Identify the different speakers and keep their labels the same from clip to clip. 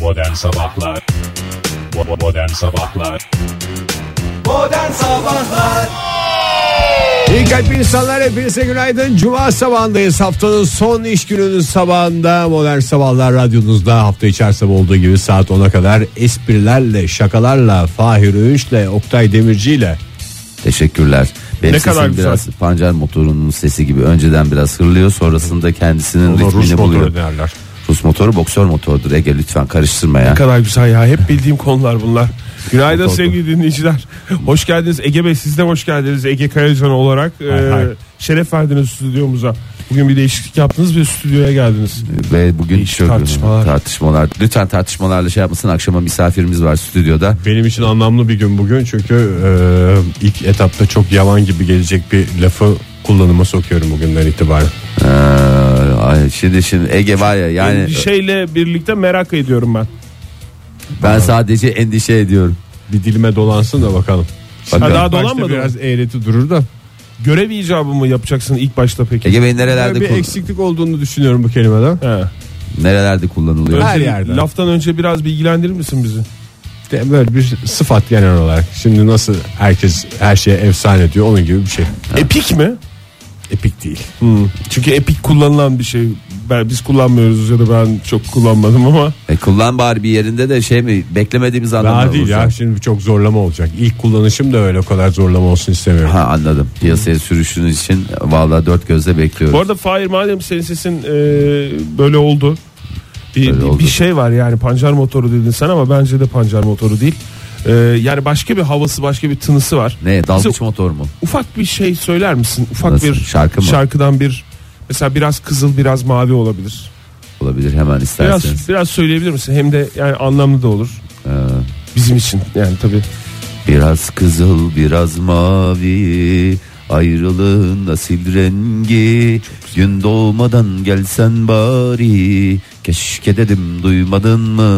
Speaker 1: Modern Sabahlar Bo- Modern Sabahlar
Speaker 2: Modern Sabahlar
Speaker 3: İyi kalp insanlar hepinize günaydın. Cuma sabahındayız. Haftanın son iş gününün sabahında Modern Sabahlar radyonuzda hafta içi her sabah olduğu gibi saat 10'a kadar esprilerle, şakalarla, Fahir Öğünç'le, Oktay Demirci'yle.
Speaker 4: Teşekkürler. Benim
Speaker 5: Ne
Speaker 4: sesim
Speaker 5: kadar güzel.
Speaker 4: biraz pancar motorunun sesi gibi önceden biraz hırlıyor sonrasında kendisinin
Speaker 3: Ona
Speaker 4: ritmini
Speaker 3: Rus
Speaker 4: buluyor.
Speaker 3: motoru derler.
Speaker 4: Rus motoru boksör motorudur Ege lütfen karıştırma ya.
Speaker 5: Ne kadar güzel ya. Hep bildiğim konular bunlar. Günaydın
Speaker 4: Oldu.
Speaker 5: sevgili dinleyiciler. Hoş geldiniz Ege Bey. Siz de hoş geldiniz Ege Kayacan olarak. e,
Speaker 3: hay.
Speaker 5: şeref verdiniz stüdyomuza. Bugün bir değişiklik yaptınız ve stüdyoya geldiniz.
Speaker 4: Ve bugün
Speaker 5: Değişik
Speaker 4: çok
Speaker 5: tartışmalar.
Speaker 4: tartışmalar. Lütfen tartışmalarla şey yapmasın akşama misafirimiz var stüdyoda.
Speaker 3: Benim için anlamlı bir gün bugün çünkü e, ilk etapta çok yavan gibi gelecek bir lafı kullanıma sokuyorum bugünden itibaren.
Speaker 4: Ee, ay, şimdi şimdi Ege var ya yani
Speaker 5: bir şeyle birlikte merak ediyorum ben.
Speaker 4: ben sadece endişe ediyorum.
Speaker 3: Bir dilime dolansın da bakalım.
Speaker 4: Bakın.
Speaker 5: Ha, daha
Speaker 3: Başta
Speaker 5: dolanmadı mı?
Speaker 3: biraz eğreti durur da.
Speaker 5: Görev icabı mı yapacaksın ilk başta peki?
Speaker 4: Ege Bey nerelerde
Speaker 3: bir
Speaker 4: kul-
Speaker 3: eksiklik olduğunu düşünüyorum bu kelimeden.
Speaker 5: He.
Speaker 4: nerelerde kullanılıyor?
Speaker 3: Her
Speaker 5: Önce-
Speaker 3: yerde.
Speaker 5: Laftan önce biraz bilgilendirir misin bizi?
Speaker 3: De böyle bir sıfat genel olarak. Şimdi nasıl herkes her şeye efsane diyor onun gibi bir şey.
Speaker 5: Epik mi?
Speaker 3: Epik değil.
Speaker 5: Hmm. Çünkü epik kullanılan bir şey. Ben, biz kullanmıyoruz ya da ben çok kullanmadım ama.
Speaker 4: E, kullan bari bir yerinde de şey mi beklemediğimiz anlamda
Speaker 3: Daha değil ya şimdi çok zorlama olacak. İlk kullanışım da öyle o kadar zorlama olsun istemiyorum.
Speaker 4: Ha anladım. Piyasaya sürüşünüz için vallahi dört gözle bekliyorum.
Speaker 5: Bu arada Fahir madem senin sesin e, böyle oldu. Bir,
Speaker 4: Böyle
Speaker 5: bir-
Speaker 4: oldu.
Speaker 5: bir şey var yani pancar motoru dedin sen ama bence de pancar motoru değil. E, yani başka bir havası başka bir tınısı var.
Speaker 4: Ne dalgıç
Speaker 5: Bize
Speaker 4: motor mu?
Speaker 5: Ufak bir şey söyler misin? Ufak
Speaker 4: Nasıl,
Speaker 5: bir
Speaker 4: şarkı mı?
Speaker 5: şarkıdan bir mesela biraz kızıl biraz mavi olabilir.
Speaker 4: Olabilir hemen
Speaker 5: Biraz
Speaker 4: isterseniz.
Speaker 5: biraz söyleyebilir misin? Hem de yani anlamlı da olur
Speaker 4: Ee,
Speaker 5: bizim için yani tabii.
Speaker 4: biraz kızıl biraz mavi ayrılığın asil rengi gün doğmadan gelsen bari keşke dedim duymadın mı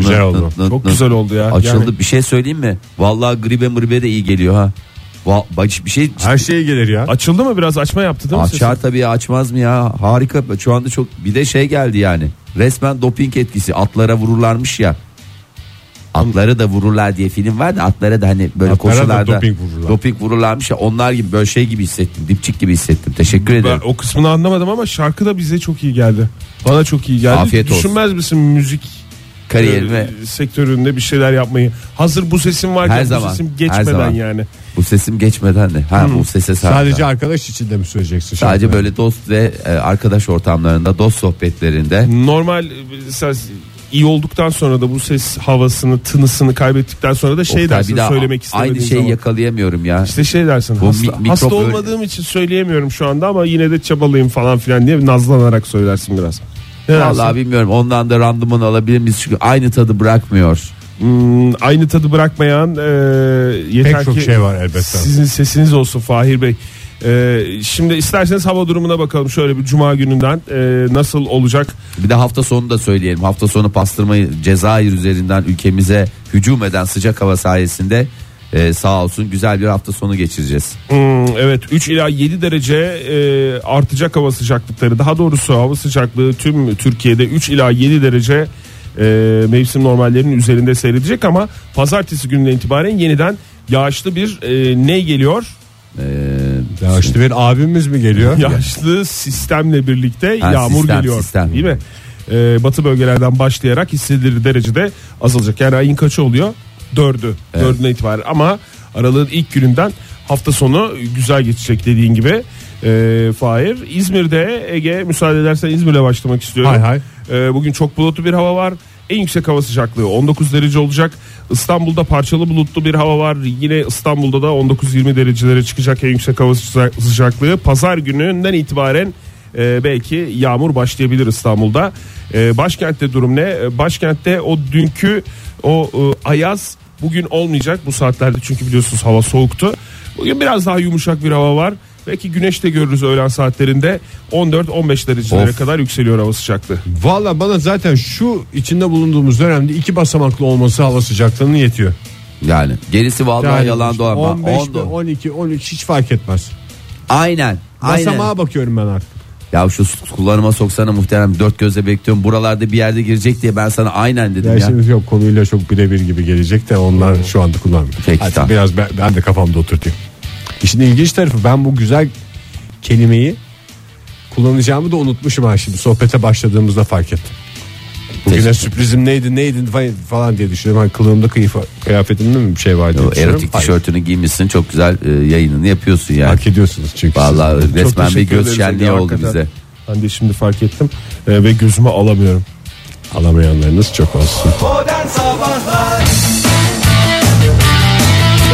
Speaker 3: Güzel oldu.
Speaker 5: Çok güzel oldu ya.
Speaker 4: açıldı
Speaker 5: Yani
Speaker 4: bir şey söyleyeyim mi vallahi gribe mırbe de iyi geliyor ha Va- baş- bir şey
Speaker 3: Her şeye gelir ya.
Speaker 5: açıldı mı biraz açma yaptı değil mi?
Speaker 4: Açar tabii açmaz mı ya? Harika. Şu anda çok bir de şey geldi yani. Resmen doping etkisi. Atlara vururlarmış ya. Atları da vururlar diye film var da atlara da hani böyle
Speaker 3: Atlara da
Speaker 4: koşularda
Speaker 3: doping vururlar.
Speaker 4: doping vururlarmış ya onlar gibi böyle şey gibi hissettim. Dipçik gibi hissettim. Teşekkür
Speaker 5: Ben
Speaker 4: ederim.
Speaker 5: o kısmını anlamadım ama şarkı da bize çok iyi geldi. Bana çok iyi geldi.
Speaker 4: Afiyet olsun.
Speaker 5: Düşünmez misin müzik
Speaker 4: Kariyerime
Speaker 5: e, sektöründe bir şeyler yapmayı? Hazır bu sesim varken
Speaker 4: Her
Speaker 5: bu
Speaker 4: zaman,
Speaker 5: sesim
Speaker 4: her
Speaker 5: geçmeden
Speaker 4: zaman.
Speaker 5: yani.
Speaker 4: bu sesim geçmeden de. Ha
Speaker 5: Hmm.
Speaker 4: bu sese
Speaker 3: Sadece
Speaker 4: sadece
Speaker 3: arkadaş için de mi söyleyeceksin?
Speaker 4: sadece
Speaker 3: şarkıları?
Speaker 4: böyle dost ve e, arkadaş ortamlarında, dost sohbetlerinde
Speaker 5: Normal e, mesela iyi olduktan sonra da bu ses havasını, tınısını kaybettikten sonra da şey
Speaker 4: Oktay,
Speaker 5: dersin
Speaker 4: bir daha
Speaker 5: söylemek istemediğin
Speaker 4: aynı şeyi
Speaker 5: zaman.
Speaker 4: yakalayamıyorum ya.
Speaker 5: İşte şey dersin
Speaker 4: Bu mi-
Speaker 5: hasta,
Speaker 4: mikrop
Speaker 5: hasta
Speaker 4: öyle-
Speaker 5: olmadığım için söyleyemiyorum şu anda ama yine de çabalıyım falan filan diye nazlanarak söylersin biraz. Ne
Speaker 4: Vallahi
Speaker 5: dersin?
Speaker 4: bilmiyorum. Ondan da randıman alabilir miyiz? Çünkü aynı tadı bırakmıyor.
Speaker 5: Hmm, aynı tadı bırakmayan e, yeter
Speaker 3: Pek çok
Speaker 5: ki
Speaker 3: şey var elbette.
Speaker 5: Sizin sesiniz olsun Fahir Bey. Ee, şimdi isterseniz hava durumuna bakalım şöyle bir cuma gününden e, nasıl olacak?
Speaker 4: Bir de hafta sonu da söyleyelim. Hafta sonu pastırmayı Cezayir üzerinden ülkemize hücum eden sıcak hava sayesinde e, sağ olsun güzel bir hafta sonu geçireceğiz.
Speaker 5: Hmm, evet 3 ila 7 derece e, artacak hava sıcaklıkları. Daha doğrusu hava sıcaklığı tüm Türkiye'de 3 ila 7 derece e, mevsim normallerinin üzerinde seyredecek ama pazartesi gününden itibaren yeniden yağışlı bir e, ne geliyor?
Speaker 4: E,
Speaker 3: Ya işte bir abimiz mi geliyor?
Speaker 5: Yağışlı sistemle birlikte
Speaker 4: Ha,
Speaker 5: yağmur
Speaker 4: sistem,
Speaker 5: geliyor.
Speaker 4: sistem.
Speaker 5: Değil mi? Ee, batı bölgelerden başlayarak hissedilir derecede azalacak. Yani ayın kaçı oluyor? Dördü. Dördüne itibaren. Ama aralığın ilk gününden hafta sonu güzel geçecek dediğin gibi. Ee, Fahir. İzmir'de Ege müsaade edersen İzmir'le başlamak istiyorum.
Speaker 3: Hay hay.
Speaker 5: Ee, bugün çok bulutlu bir hava var. En yüksek hava sıcaklığı 19 derece olacak. İstanbul'da parçalı bulutlu bir hava var. Yine İstanbul'da da 19-20 derecelere çıkacak en yüksek hava sıca- sıcaklığı. Pazar gününden itibaren e, belki yağmur başlayabilir İstanbul'da. E, başkentte durum ne? E, Başkentte o dünkü o e, ayaz bugün olmayacak bu saatlerde çünkü biliyorsunuz hava soğuktu. Bugün biraz daha yumuşak bir hava var. Belki güneş de görürüz öğlen saatlerinde 14-15 derecelere
Speaker 4: Of.
Speaker 5: kadar yükseliyor hava sıcaklığı.
Speaker 3: Valla bana zaten şu içinde bulunduğumuz dönemde iki basamaklı olması hava sıcaklığının yetiyor.
Speaker 4: yani gerisi vallahi
Speaker 3: Yani
Speaker 4: yalan
Speaker 3: işte
Speaker 4: doğar.
Speaker 3: 15
Speaker 4: On
Speaker 3: mi,
Speaker 4: do-
Speaker 3: 12, 13 hiç fark etmez.
Speaker 4: Aynen. Aynen.
Speaker 3: Basamağa bakıyorum ben artık.
Speaker 4: Ya şu süt kullanıma soksana muhterem dört gözle bekliyorum. Buralarda bir yerde girecek diye ben sana aynen dedim
Speaker 3: Ya,
Speaker 4: ya.
Speaker 3: şimdi yok konuyla çok birebir gibi gelecek de onlar şu anda kullanmıyor.
Speaker 4: Peki,
Speaker 3: Hadi
Speaker 4: tamam.
Speaker 3: biraz ben, ben de kafamda oturtayım. İşin ilginç tarafı ben bu güzel kelimeyi kullanacağımı da unutmuşum ha şimdi sohbete başladığımızda fark ettim. Bugüne
Speaker 4: Teşekkür.
Speaker 3: sürprizim neydi neydi falan diye düşünüyorum. Hani kılığımda kıyıf, kıyafetimde mi bir şey var diye
Speaker 4: O
Speaker 3: düşünüyorum.
Speaker 4: erotik
Speaker 3: Hayır.
Speaker 4: tişörtünü giymişsin çok güzel e, yayınını yapıyorsun yani.
Speaker 3: Hak ediyorsunuz çünkü.
Speaker 4: Vallahi resmen bir
Speaker 5: teşekkür
Speaker 4: göz
Speaker 5: ederiz
Speaker 4: şenliği
Speaker 5: Ege,
Speaker 4: oldu
Speaker 5: hakikaten.
Speaker 4: bize.
Speaker 5: Ben de şimdi fark ettim
Speaker 3: Ee,
Speaker 5: e, ve gözüme alamıyorum.
Speaker 3: siz Alamayanlarınız çok olsun.
Speaker 2: Modern Sabahlar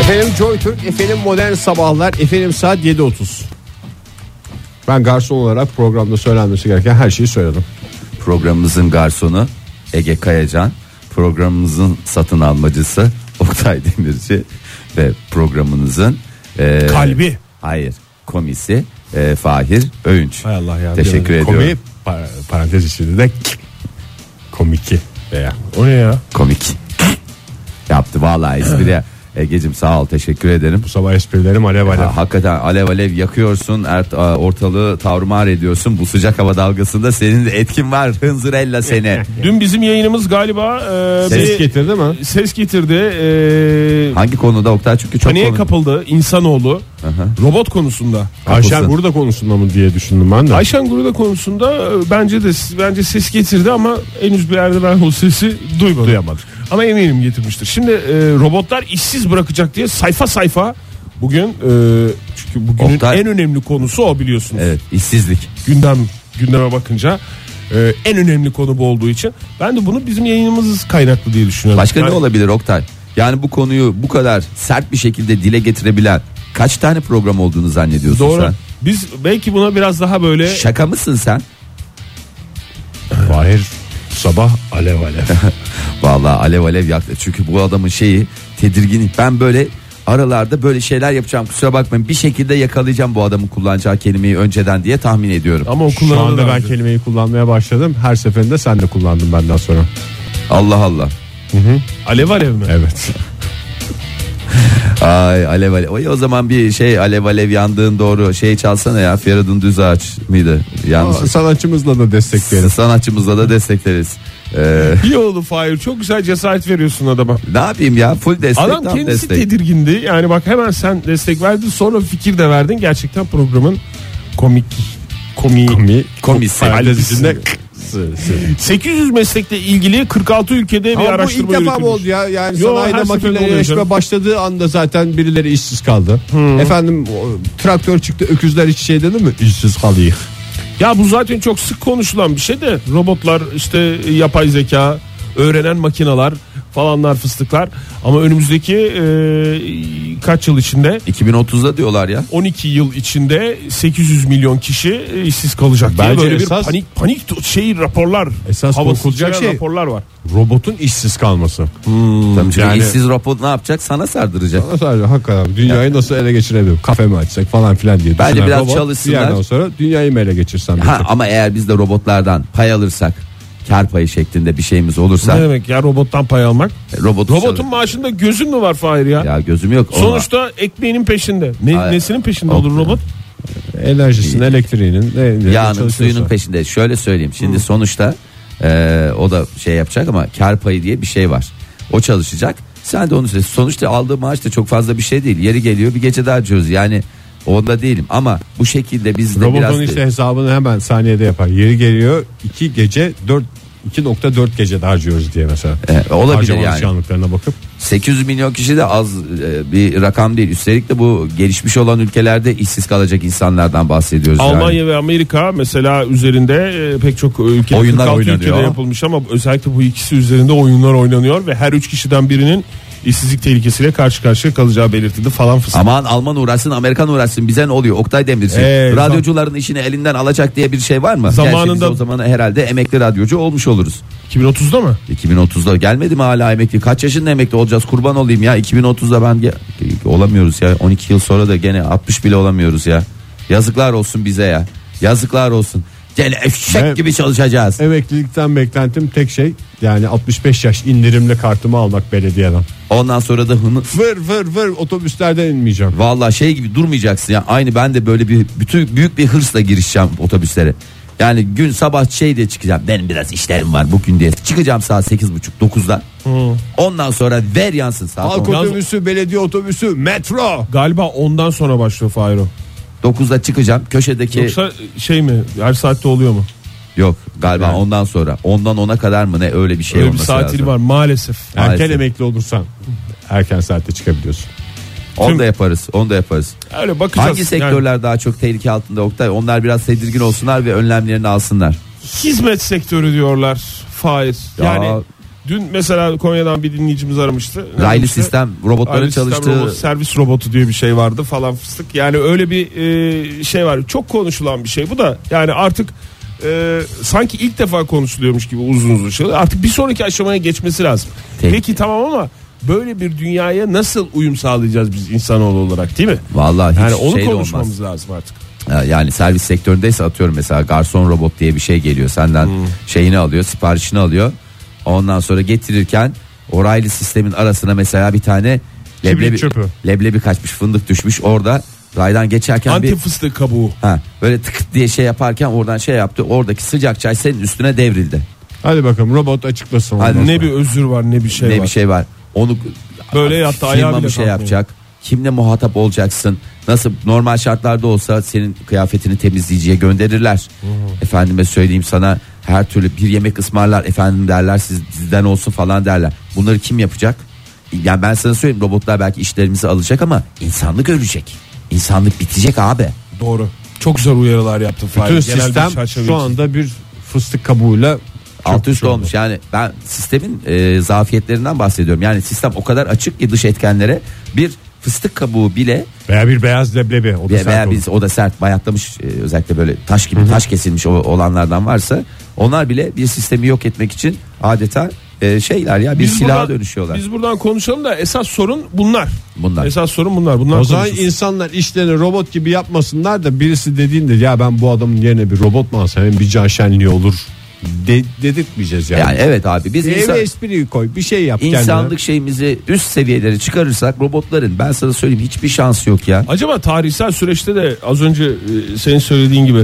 Speaker 3: Efendim Joy Türk, efendim Modern Sabahlar, efendim saat 7.30. Ben garson olarak programda söylenmesi gereken her şeyi söyledim.
Speaker 4: Programımızın garsonu Ege Kayacan, programımızın satın almacısı Oktay Demirci ve programınızın e,
Speaker 5: Kalbi.
Speaker 4: Hayır, komisi e, Fahir Öğünç.
Speaker 3: Hay Allah ya.
Speaker 4: Teşekkür
Speaker 3: Bir-
Speaker 4: ediyorum.
Speaker 3: Komi, par- parantez içinde de k- komiki veya
Speaker 5: O ne ya?
Speaker 4: Komik. Yaptı vallahi espri. Ege'cim sağ ol teşekkür ederim.
Speaker 3: bu sabah esprilerim alev alev.
Speaker 4: Ha, hakikaten alev alev yakıyorsun ert- a, ortalığı tarumar ediyorsun bu sıcak hava dalgasında senin de etkin var hınzırella seni
Speaker 5: Dün bizim yayınımız galiba e,
Speaker 4: Ses
Speaker 5: bir-
Speaker 3: Ses getirdi mi?
Speaker 5: ses getirdi. E,
Speaker 4: hangi konuda Oktay çünkü çok
Speaker 5: paniğe
Speaker 4: konu-
Speaker 5: kapıldı insanoğlu. Robot konusunda.
Speaker 3: Ayşen
Speaker 4: Haklısın.
Speaker 3: burada konusunda mı diye düşündüm ben de.
Speaker 5: Ayşen Guru'da konusunda e, bence de bence ses getirdi ama henüz bir yerde ben o sesi duymadım. Duyamadık. Ama eminim getirmiştir. Şimdi e, robotlar işsiz bırakacak diye sayfa sayfa bugün e, çünkü bugünün
Speaker 4: Oktay-
Speaker 5: en önemli konusu o biliyorsunuz.
Speaker 4: Evet işsizlik
Speaker 5: Gündem gündeme bakınca e, en önemli konu bu olduğu için ben de bunu bizim yayınımız kaynaklı diye düşünüyorum.
Speaker 4: başka
Speaker 5: Yani
Speaker 4: ne olabilir Oktay yani bu konuyu bu kadar sert bir şekilde dile getirebilen kaç tane program olduğunu zannediyorsun
Speaker 5: Doğru.
Speaker 4: sen
Speaker 5: Biz belki buna biraz daha böyle
Speaker 4: şaka mısın sen
Speaker 3: Fahir bu sabah alev alev.
Speaker 4: Vallahi alev alev yaktı. Çünkü bu adamın şeyi tedirginlik. Ben böyle aralarda böyle şeyler yapacağım. Kusura bakmayın. Bir şekilde yakalayacağım bu adamın kullanacağı kelimeyi önceden diye tahmin ediyorum.
Speaker 5: ama o
Speaker 3: Şu
Speaker 5: kullanılır
Speaker 3: anda ben
Speaker 5: abi.
Speaker 3: kelimeyi kullanmaya başladım. Her seferinde sen de kullandın benden sonra.
Speaker 4: Allah Allah.
Speaker 5: alev alev mi?
Speaker 3: Evet.
Speaker 4: Ay alev alev. Oy, o zaman bir şey alev alev yandığın doğru şey çalsana ya. Feridun Düz Ağaç mıydı? Yanlış.
Speaker 3: Sanatçımızla da destekleyelim.
Speaker 4: Sanatçımızla da destekleriz. Ee,
Speaker 5: İyi oldu Fahir. Çok güzel cesaret veriyorsun adama.
Speaker 4: ne yapayım ya? Full destek.
Speaker 5: Adam
Speaker 4: tam
Speaker 5: kendisi
Speaker 4: destek.
Speaker 5: tedirgindi. Yani bak hemen sen destek verdin sonra fikir de verdin. Gerçekten programın komik komiği.
Speaker 3: Komi,
Speaker 4: Komisi.
Speaker 3: Ailesinde
Speaker 5: 800 meslekle ilgili 46 ülkede bir
Speaker 3: Ama bu ilk
Speaker 5: araştırma
Speaker 3: defa bu
Speaker 5: yürütülmüş.
Speaker 3: oldu ya. Yani
Speaker 5: Yo, her
Speaker 3: sanayide
Speaker 5: seferinde oluyor canım.
Speaker 3: makineleşme başladığı anda zaten birileri işsiz kaldı.
Speaker 5: Hmm.
Speaker 3: Efendim o, traktör çıktı öküzler hiç şey dedi mi? İşsiz kalıyor.
Speaker 5: Ya bu zaten çok sık konuşulan bir şey de robotlar işte yapay zeka öğrenen makineler falanlar fıstıklar ama önümüzdeki e, kaç yıl içinde
Speaker 4: 2030'da diyorlar ya.
Speaker 5: 12 yıl içinde 800 milyon kişi e, işsiz kalacak diye
Speaker 3: Bence
Speaker 5: böyle
Speaker 3: esas-
Speaker 5: bir panik panik şey raporlar
Speaker 3: Esas
Speaker 5: havası
Speaker 3: korkulacak
Speaker 5: içeren
Speaker 3: şey-
Speaker 5: raporlar var.
Speaker 3: Robotun işsiz kalması.
Speaker 4: Tabii çünkü
Speaker 3: yani-
Speaker 4: işsiz robot ne yapacak? Sana sardıracak.
Speaker 3: Sadece hakikaten dünyayı nasıl ele geçirebilirim? Kafe mi açsak falan filan diye.
Speaker 4: Bence
Speaker 3: düşünen
Speaker 4: biraz
Speaker 3: robot,
Speaker 4: çalışsınlar.
Speaker 3: Bir yerden sonra dünyayı mı ele geçirsem?
Speaker 4: Ha,
Speaker 3: diyecek.
Speaker 4: ama eğer biz de robotlardan pay alırsak kar payı şeklinde bir şeyimiz olursa
Speaker 5: Ne demek ya robottan pay almak?
Speaker 4: e, robotu
Speaker 5: Robotun
Speaker 4: çalır.
Speaker 5: maaşında gözün mü var Fahir ya?
Speaker 4: ya gözüm yok ona.
Speaker 5: Sonuçta ekmeğinin peşinde. Ne,
Speaker 4: Ay-
Speaker 5: nesinin peşinde
Speaker 4: Yok
Speaker 5: olur
Speaker 4: ya.
Speaker 5: robot?
Speaker 3: Enerjisinin, elektriğinin. ne- ne-
Speaker 4: yağının
Speaker 3: çalışıyorsa.
Speaker 4: suyunun peşinde şöyle söyleyeyim şimdi
Speaker 5: Hmm.
Speaker 4: sonuçta e, o da şey yapacak ama kar payı diye bir şey var o çalışacak sen de onu söyle sonuçta aldığı maaş da çok fazla bir şey değil yeri geliyor bir gece daha çöz yani onda değilim ama bu şekilde biz de biraz
Speaker 3: Robotun işte hesabını hemen saniyede yapar. Yeri geliyor 2 gece 4 2.4 gecede harcıyoruz diye mesela.
Speaker 4: E, olabilir
Speaker 3: Harcama
Speaker 4: yani.
Speaker 3: alışkanlıklarına bakıp
Speaker 4: 800 milyon kişi de az e, bir rakam değil üstelik de bu gelişmiş olan ülkelerde işsiz kalacak insanlardan bahsediyoruz yani.
Speaker 5: Almanya ve Amerika mesela üzerinde e, pek çok ülke
Speaker 4: Oyunlar
Speaker 5: 46
Speaker 4: oynanıyor.
Speaker 5: ülkede yapılmış ama özellikle bu ikisi üzerinde oyunlar oynanıyor ve her üç kişiden birinin işsizlik tehlikesiyle karşı karşıya kalacağı belirtildi falan fıstık.
Speaker 4: Aman Alman uğraşsın Amerikan uğraşsın bize ne oluyor Oktay Demirci
Speaker 5: Ee,
Speaker 4: radyocuların işini elinden alacak diye bir şey var mı?
Speaker 5: Zamanında-
Speaker 4: Gerçi biz o zaman herhalde emekli radyocu olmuş oluruz.
Speaker 5: 2030'da mı?
Speaker 4: 2030'da gelmedi mi hala emekli? Kaç yaşında emekli olacağız? Kurban olayım ya 2030'da ben ge- olamıyoruz ya 12 yıl sonra da gene 60 bile olamıyoruz ya. Yazıklar olsun bize ya. Yazıklar olsun. Gene eşek
Speaker 3: Evet.
Speaker 4: gibi
Speaker 5: E-
Speaker 4: çalışacağız.
Speaker 3: Emeklilikten beklentim tek şey yani 65 yaş indirimli kartımı almak belediyeden.
Speaker 4: Ondan sonra da hını
Speaker 3: Vır vır vır otobüslerden inmeyeceğim.
Speaker 4: Vallahi şey gibi durmayacaksın ya. Aynı ben de böyle bir bütün büyük bir hırsla girişeceğim otobüslere. Yani gün sabah şey diye çıkacağım. Benim biraz işlerim var bugün diye. Çıkacağım saat 8.30 9'da. Ondan sonra ver yansın saat
Speaker 3: Halk
Speaker 4: on.
Speaker 3: otobüsü, belediye otobüsü, metro.
Speaker 5: Galiba ondan sonra başlıyor Fayro.
Speaker 4: 9'da çıkacağım. Köşedeki
Speaker 5: Yoksa şey mi her saatte oluyor mu?
Speaker 4: yok galiba ondan sonra. Ondan ona kadar mı ne öyle bir şey
Speaker 5: Böyle bir
Speaker 4: olması
Speaker 5: saatili
Speaker 4: lazım.
Speaker 5: var maalesef.
Speaker 3: Erken
Speaker 4: Maalesef.
Speaker 3: emekli olursan erken saatte çıkabiliyorsun.
Speaker 4: Onu da yaparız. Onu da yaparız.
Speaker 5: Öyle bakacağız.
Speaker 4: Hangi
Speaker 5: Yani
Speaker 4: sektörler daha çok tehlike altında Oktay? Onlar biraz tedirgin olsunlar ve önlemlerini alsınlar.
Speaker 5: hizmet sektörü diyorlar. Faiz.
Speaker 4: Ya.
Speaker 5: Yani dün mesela Konya'dan bir dinleyicimiz aramıştı. Ne
Speaker 4: Raylı
Speaker 5: demişti?
Speaker 4: sistem robotların
Speaker 5: Ayrı sistem
Speaker 4: çalıştığı
Speaker 5: robotu, servis robotu diye bir şey vardı falan fıstık. Yani öyle bir e, şey var. Çok konuşulan bir şey bu da. Yani artık e, sanki ilk defa konuşuluyormuş gibi uzun uzun şey. Artık bir sonraki aşamaya geçmesi lazım.
Speaker 4: Peki.
Speaker 5: Peki tamam ama böyle bir dünyaya nasıl uyum sağlayacağız biz insanoğlu olarak değil mi?
Speaker 4: Vallahi hiç
Speaker 5: Yani onu
Speaker 4: şey de olmaz.
Speaker 5: konuşmamız lazım artık.
Speaker 4: Ya Ee, Yani servis sektöründeyse atıyorum mesela garson robot diye bir şey geliyor senden
Speaker 5: Hmm.
Speaker 4: şeyini alıyor siparişini alıyor ondan sonra getirirken oraylı sistemin arasına mesela bir tane leblebi,
Speaker 5: çöpü.
Speaker 4: leblebi kaçmış fındık düşmüş orada raydan geçerken
Speaker 5: Anti
Speaker 4: bir
Speaker 5: fıstık kabuğu.
Speaker 4: ha, böyle tık diye şey yaparken oradan şey yaptı oradaki sıcak çay senin üstüne devrildi
Speaker 3: Hadi bakalım robot açıklasın.
Speaker 4: Hadi.
Speaker 3: onu.
Speaker 5: Ne bir özür var ne bir şey
Speaker 4: ne
Speaker 5: var.
Speaker 4: bir şey var onu
Speaker 5: Böyle yattı ayağı
Speaker 4: firma
Speaker 5: bile
Speaker 4: bir şey
Speaker 5: kalkmıyor.
Speaker 4: yapacak kimle muhatap olacaksın nasıl normal şartlarda olsa senin kıyafetini temizleyiciye gönderirler efendime söyleyeyim sana her türlü bir yemek ısmarlar efendim derler siz sizden olsun falan derler bunları kim yapacak yani ben sana söyleyeyim robotlar belki işlerimizi alacak ama insanlık ölecek insanlık bitecek abi
Speaker 5: Doğru. Çok güzel uyarılar yaptın Fahri.
Speaker 3: Bütün
Speaker 5: Genel bir
Speaker 3: sistem
Speaker 5: çerçeve
Speaker 3: şu
Speaker 5: için.
Speaker 3: anda bir fıstık kabuğuyla
Speaker 4: alt üst olmuş yani ben sistemin e, zafiyetlerinden bahsediyorum yani sistem o kadar açık ki dış etkenlere bir fıstık kabuğu bile
Speaker 3: veya bir beyaz leblebi. O da
Speaker 4: Ve-
Speaker 3: sert
Speaker 4: veya
Speaker 3: olur.
Speaker 4: biz o da sert bayatlamış e, özellikle böyle taş gibi taş kesilmiş o- olanlardan varsa onlar bile bir sistemi yok etmek için adeta e, şeyler ya bir silaha
Speaker 5: buradan-
Speaker 4: dönüşüyorlar.
Speaker 5: Biz buradan konuşalım da esas sorun bunlar.
Speaker 4: Bunlar.
Speaker 5: Esas sorun bunlar. Bunlar
Speaker 3: O zaman
Speaker 5: konuşulsun.
Speaker 3: insanlar işlerini robot gibi yapmasınlar da birisi dediğinde ya ben bu adamın yerine bir robot mu alsam hem bir can şenliği olur de, dedirtmeyeceğiz yani.
Speaker 4: yani evet abi biz
Speaker 3: Bir
Speaker 4: insan-
Speaker 3: eve espriyi koy bir şey yap
Speaker 4: insanlık
Speaker 3: kendine.
Speaker 4: şeyimizi üst seviyelere çıkarırsak robotların ben sana söyleyeyim hiçbir şansı yok ya.
Speaker 5: Acaba tarihsel süreçte de az önce e, senin söylediğin gibi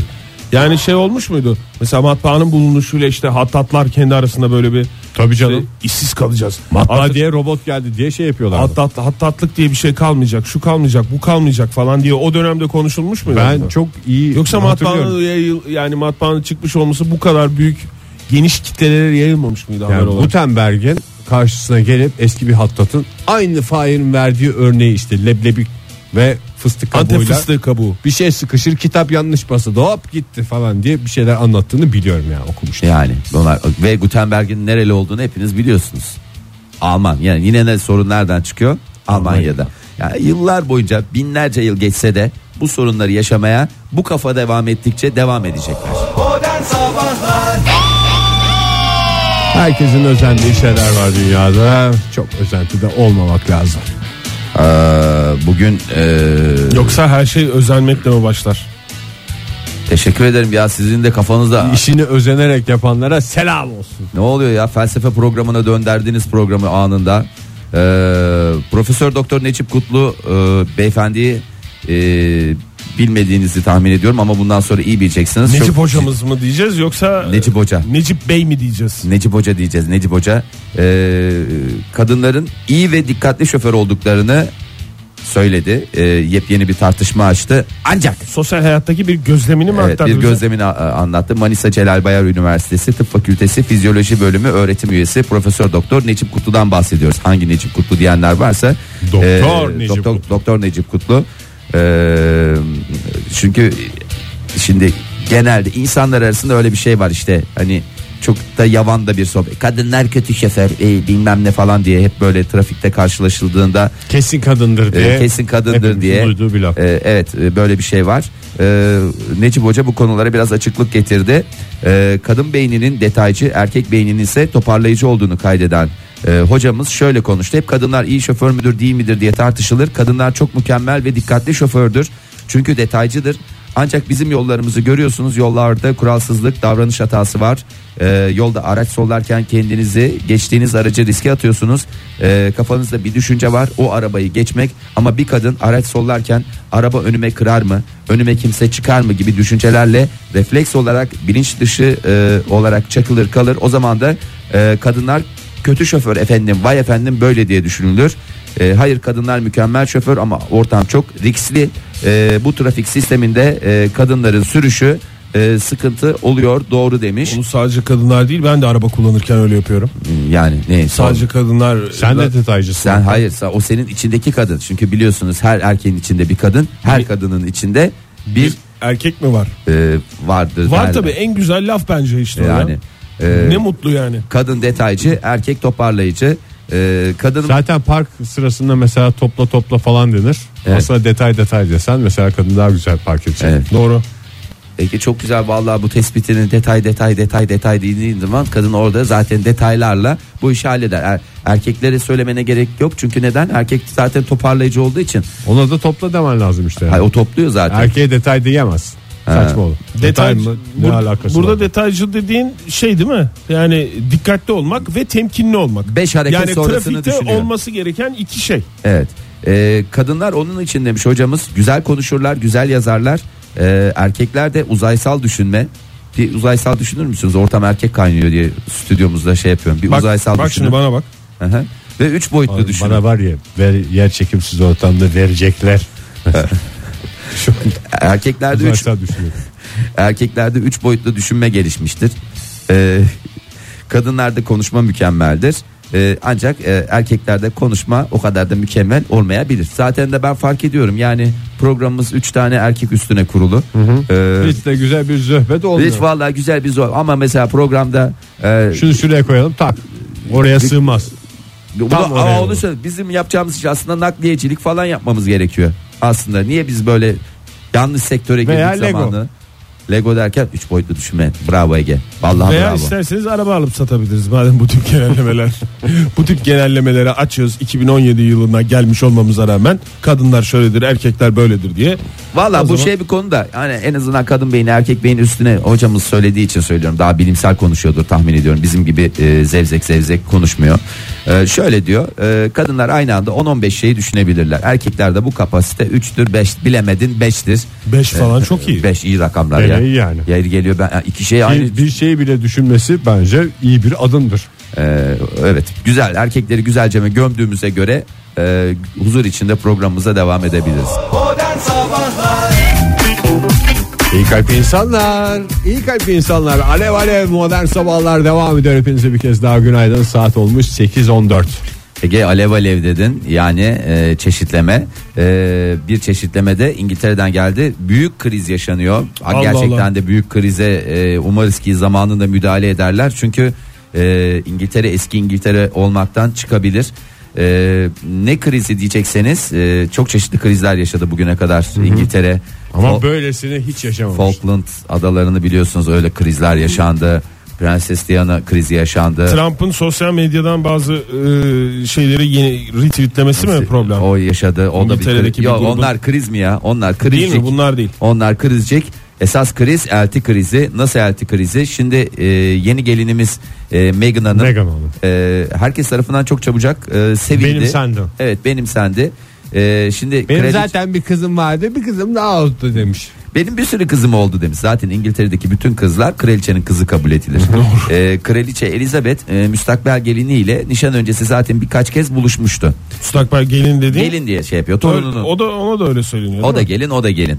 Speaker 5: yani şey olmuş muydu? Mesela matbaanın bulunuşuyla işte hattatlar kendi arasında böyle bir
Speaker 3: Tabii
Speaker 5: işte,
Speaker 4: şey-
Speaker 3: canım.
Speaker 5: işsiz kalacağız.
Speaker 3: Matbaa
Speaker 5: Artık
Speaker 3: diye robot geldi diye şey yapıyorlar.
Speaker 5: hattat, hattatlık diye bir şey kalmayacak, şu kalmayacak, bu kalmayacak falan diye o dönemde konuşulmuş muydu?
Speaker 3: ben çok iyi
Speaker 5: Yoksa matbaanın
Speaker 3: hatırlıyorum.
Speaker 5: yayıl- yani matbaanın çıkmış olması bu kadar büyük geniş kitlelere yayılmamış mıydı haber
Speaker 3: yani
Speaker 5: olarak?
Speaker 3: Gutenberg'in karşısına gelip eski bir hattatın aynı Fahir'in verdiği örneği işte leblebi ve fıstık
Speaker 5: Antep
Speaker 3: kabuğuyla
Speaker 5: fıstığı kabuğu.
Speaker 3: bir şey sıkışır kitap yanlış basıldı hop gitti falan diye bir şeyler anlattığını biliyorum yani okumuştum.
Speaker 4: Yani bunlar ve Gutenberg'in nereli olduğunu hepiniz biliyorsunuz. Alman yani yine ne sorun nereden çıkıyor? Almanya'da. Yani yıllar boyunca binlerce yıl geçse de bu sorunları yaşamaya bu kafa devam ettikçe devam edecekler.
Speaker 2: Modern Sabahlar
Speaker 3: Herkesin özendiği şeyler var dünyada. Çok özentide olmamak lazım.
Speaker 4: Ee, bugün ee,
Speaker 5: Yoksa her şey özenmekle mi başlar?
Speaker 4: teşekkür ederim ya sizin de kafanızda
Speaker 3: İşini özenerek yapanlara selam olsun.
Speaker 4: ne oluyor ya felsefe programına döndürdüğünüz programı anında. Ee, Profesör Doktor Necip Kutlu ee, beyefendiyi ee, bilmediğinizi tahmin ediyorum ama bundan sonra iyi bileceksiniz.
Speaker 5: Necip
Speaker 4: Çok-
Speaker 5: hocamız mı diyeceğiz yoksa
Speaker 4: Necip Hoca.
Speaker 5: Necip Bey mi diyeceğiz?
Speaker 4: Necip Hoca diyeceğiz Necip Hoca Ee, kadınların iyi ve dikkatli şoför olduklarını söyledi Ee, yepyeni bir tartışma açtı ancak
Speaker 5: Sosyal hayattaki bir gözlemini mi
Speaker 4: evet,
Speaker 5: aktardı?
Speaker 4: bir
Speaker 5: bize?
Speaker 4: gözlemini a- a- anlattı Manisa Celal Bayar Üniversitesi Tıp Fakültesi Fizyoloji Bölümü öğretim üyesi Profesör Doktor Necip Kutlu'dan bahsediyoruz hangi Necip Kutlu diyenler varsa
Speaker 3: Doktor
Speaker 4: ee,
Speaker 3: Necip
Speaker 4: doktor,
Speaker 3: Kutlu.
Speaker 4: Doktor Necip Kutlu Ee, çünkü şimdi genelde insanlar arasında öyle bir şey var işte hani çok da yavan da bir sohbet kadınlar kötü şoför e, bilmem ne falan diye hep böyle trafikte karşılaşıldığında
Speaker 3: Kesin kadındır
Speaker 4: e,
Speaker 3: diye.
Speaker 4: kesin kadındır
Speaker 3: hepimizin
Speaker 4: diye
Speaker 3: duyduğu bir laf.
Speaker 4: E, evet e, böyle bir şey var E, Necip Hoca bu konulara biraz açıklık getirdi E, kadın beyninin detaycı erkek beyninin ise toparlayıcı olduğunu kaydeden e, hocamız şöyle konuştu hep kadınlar iyi şoför müdür değil midir diye tartışılır kadınlar çok mükemmel ve dikkatli şofördür çünkü detaycıdır Ancak bizim yollarımızı görüyorsunuz yollarda kuralsızlık davranış hatası var. Ee, yolda araç sollarken kendinizi geçtiğiniz aracı riske atıyorsunuz. Ee, kafanızda bir düşünce var o arabayı geçmek ama bir kadın araç sollarken araba önüme kırar mı önüme kimse çıkar mı gibi düşüncelerle refleks olarak bilinç dışı e, olarak çakılır kalır. O zaman da e, kadınlar kötü şoför efendim vay efendim böyle diye düşünülür. E, hayır kadınlar mükemmel şoför ama ortam çok riskli. E, bu trafik sisteminde e, kadınların sürüşü e, sıkıntı oluyor doğru demiş.
Speaker 6: Bunu sadece kadınlar değil ben de araba kullanırken öyle yapıyorum.
Speaker 4: Yani ne
Speaker 6: Sadece kadınlar
Speaker 3: Sen de detaycısın.
Speaker 4: sen hayır sa- o senin içindeki kadın. Çünkü biliyorsunuz her erkeğin içinde bir kadın, her kadının içinde bir
Speaker 6: erkek mi var?
Speaker 4: e, vardır.
Speaker 6: Var
Speaker 4: derler.
Speaker 6: tabii en güzel laf bence işte o
Speaker 4: Yani
Speaker 6: ya.
Speaker 4: e,
Speaker 6: Ne mutlu yani.
Speaker 4: kadın detaycı, erkek toparlayıcı. E, kadın
Speaker 3: Zaten park sırasında mesela topla topla falan denir.
Speaker 4: Evet.
Speaker 3: Aslında detay detay desen mesela kadın daha güzel park edecek.
Speaker 4: Evet.
Speaker 3: Doğru.
Speaker 4: Ege çok güzel vallahi bu tespitinin detay detay detay detay dediğin zaman kadın orada zaten detaylarla bu işi halleder. Er- erkeklere söylemene gerek yok çünkü neden? Erkek zaten toparlayıcı olduğu için.
Speaker 3: Ona da topla demen lazım işte.
Speaker 4: Hayır, o topluyor zaten.
Speaker 6: Er-
Speaker 3: Erkeğe detay diyemezsin. Saçma olur. Detay mı? Ne
Speaker 6: Bur-
Speaker 3: alakası
Speaker 6: burada
Speaker 3: var?
Speaker 6: detaycı dediğin şey değil mi? Yani dikkatli olmak ve temkinli olmak.
Speaker 4: Beş hareket
Speaker 6: yani
Speaker 4: sonrasını
Speaker 6: trafikte
Speaker 4: düşünüyor.
Speaker 6: olması gereken iki şey.
Speaker 4: Evet. Ee, kadınlar onun için demiş hocamız güzel konuşurlar, güzel yazarlar. Ee, erkekler de uzaysal düşünme. Bir uzaysal düşünür müsünüz? Ortam erkek kaynıyor diye stüdyomuzda şey yapıyorum. Bir
Speaker 6: Bak,
Speaker 4: uzaysal
Speaker 6: bak
Speaker 4: düşünün.
Speaker 6: şimdi bana bak.
Speaker 4: Hı hı. Ve üç boyutlu
Speaker 3: Abi
Speaker 4: düşünün.
Speaker 3: Bana var ya ver, yer çekimsiz ortamda verecekler. Şu an
Speaker 4: Erkeklerde üç
Speaker 3: uzaysal düşünüyorum.
Speaker 4: Erkeklerde üç boyutlu düşünme gelişmiştir. Ee, kadınlarda konuşma mükemmeldir. Ee, ancak e, erkeklerde konuşma o kadar da mükemmel olmayabilir. Zaten de ben fark ediyorum yani programımız üç tane erkek üstüne kurulu. Ee, hiç,
Speaker 3: Hiç de güzel bir zöhbet olmuyor.
Speaker 4: vallahi güzel bir zor ama mesela programda e,
Speaker 3: Şunu şuraya koyalım tak. Oraya sığmaz.
Speaker 4: Bu-
Speaker 3: Tam
Speaker 4: Aa,
Speaker 3: oraya
Speaker 4: onu
Speaker 3: olur.
Speaker 4: söyle. Bizim yapacağımız iş aslında nakliyecilik falan yapmamız gerekiyor. Aslında niye biz böyle yanlış sektöre
Speaker 3: Veya
Speaker 4: girdik
Speaker 3: Lego.
Speaker 4: zamanı? Lego derken üç boyutlu düşünme. Bravo Ege. Vallahi
Speaker 6: Veya
Speaker 4: bravo.
Speaker 6: isterseniz araba alıp satabiliriz madem bu tip genellemeler. bu tip genellemeleri açıyoruz 2017 yılına gelmiş olmamıza rağmen kadınlar şöyledir erkekler böyledir diye.
Speaker 4: Valla
Speaker 6: O
Speaker 4: bu
Speaker 6: zaman-
Speaker 4: şey bir konu da hani en azından kadın beyni erkek beyin üstüne hocamız söylediği için söylüyorum. Daha bilimsel konuşuyordur tahmin ediyorum. Bizim gibi e, zevzek zevzek konuşmuyor. E, şöyle diyor e, kadınlar aynı anda 10-15 şeyi düşünebilirler. Erkeklerde bu kapasite 3'tür 5 bilemedin 5'tir.
Speaker 6: 5 falan çok iyi.
Speaker 4: 5 iyi rakamlar
Speaker 3: Bele
Speaker 4: ya.
Speaker 3: iyi yani.
Speaker 4: Ya geliyor ben iki şey aynı.
Speaker 3: Bir, bir şeyi bile düşünmesi bence iyi bir adımdır.
Speaker 4: E, evet güzel erkekleri güzelce mi gömdüğümüze göre e, huzur içinde programımıza devam edebiliriz.
Speaker 2: Modern Sabahlar
Speaker 3: İyi kalp insanlar, iyi kalp insanlar. Alev alev modern sabahlar devam ediyor. Hepinize bir kez daha günaydın. Saat olmuş 8.14.
Speaker 4: Ege alev alev dedin yani e, çeşitleme E, bir çeşitleme de İngiltere'den geldi büyük kriz yaşanıyor Ha,
Speaker 6: Allah
Speaker 4: gerçekten
Speaker 6: Allah.
Speaker 4: de büyük krize e, umarız ki zamanında müdahale ederler çünkü e, İngiltere eski İngiltere olmaktan çıkabilir E, ne krizi diyecekseniz e, çok çeşitli krizler yaşadı bugüne kadar İngiltere
Speaker 3: Ama
Speaker 4: Fal-
Speaker 3: böylesini hiç yaşamamış.
Speaker 4: Falkland adalarını biliyorsunuz öyle krizler yaşandı Prenses Diana krizi yaşandı
Speaker 6: Trump'ın sosyal medyadan bazı e, şeyleri yeni retweetlemesi mi problem?
Speaker 4: O yaşadı. O da bir
Speaker 6: İngiltere'deki
Speaker 4: kriz.
Speaker 6: bir
Speaker 4: Yok,
Speaker 6: grubun-
Speaker 4: onlar kriz mi ya? Onlar krizcik.
Speaker 6: Değil mi? Bunlar değil.
Speaker 4: Onlar krizcik. Esas kriz elti krizi. Nasıl elti krizi? Şimdi e, yeni gelinimiz e, Meghan Hanım.
Speaker 3: Meghan Hanım.
Speaker 4: e, herkes tarafından çok çabucak e, sevildi.
Speaker 3: Benimsendi.
Speaker 4: Evet benimsendi. E, şimdi
Speaker 3: Benim
Speaker 4: kraliç-
Speaker 3: zaten bir kızım vardı, bir kızım daha oldu demiş.
Speaker 4: benim bir sürü kızım oldu demiş. Zaten İngiltere'deki bütün kızlar kraliçenin kızı kabul edilir. E, kraliçe Elizabeth e, müstakbel geliniyle nişan öncesi zaten birkaç kez buluşmuştu.
Speaker 6: Müstakbel gelin dediğin.
Speaker 4: Gelin diye şey yapıyor.
Speaker 6: Öyle-
Speaker 4: Torununu.
Speaker 6: O da ona da öyle söyleniyor.
Speaker 4: O da
Speaker 6: değil mi?
Speaker 4: gelin o da gelin.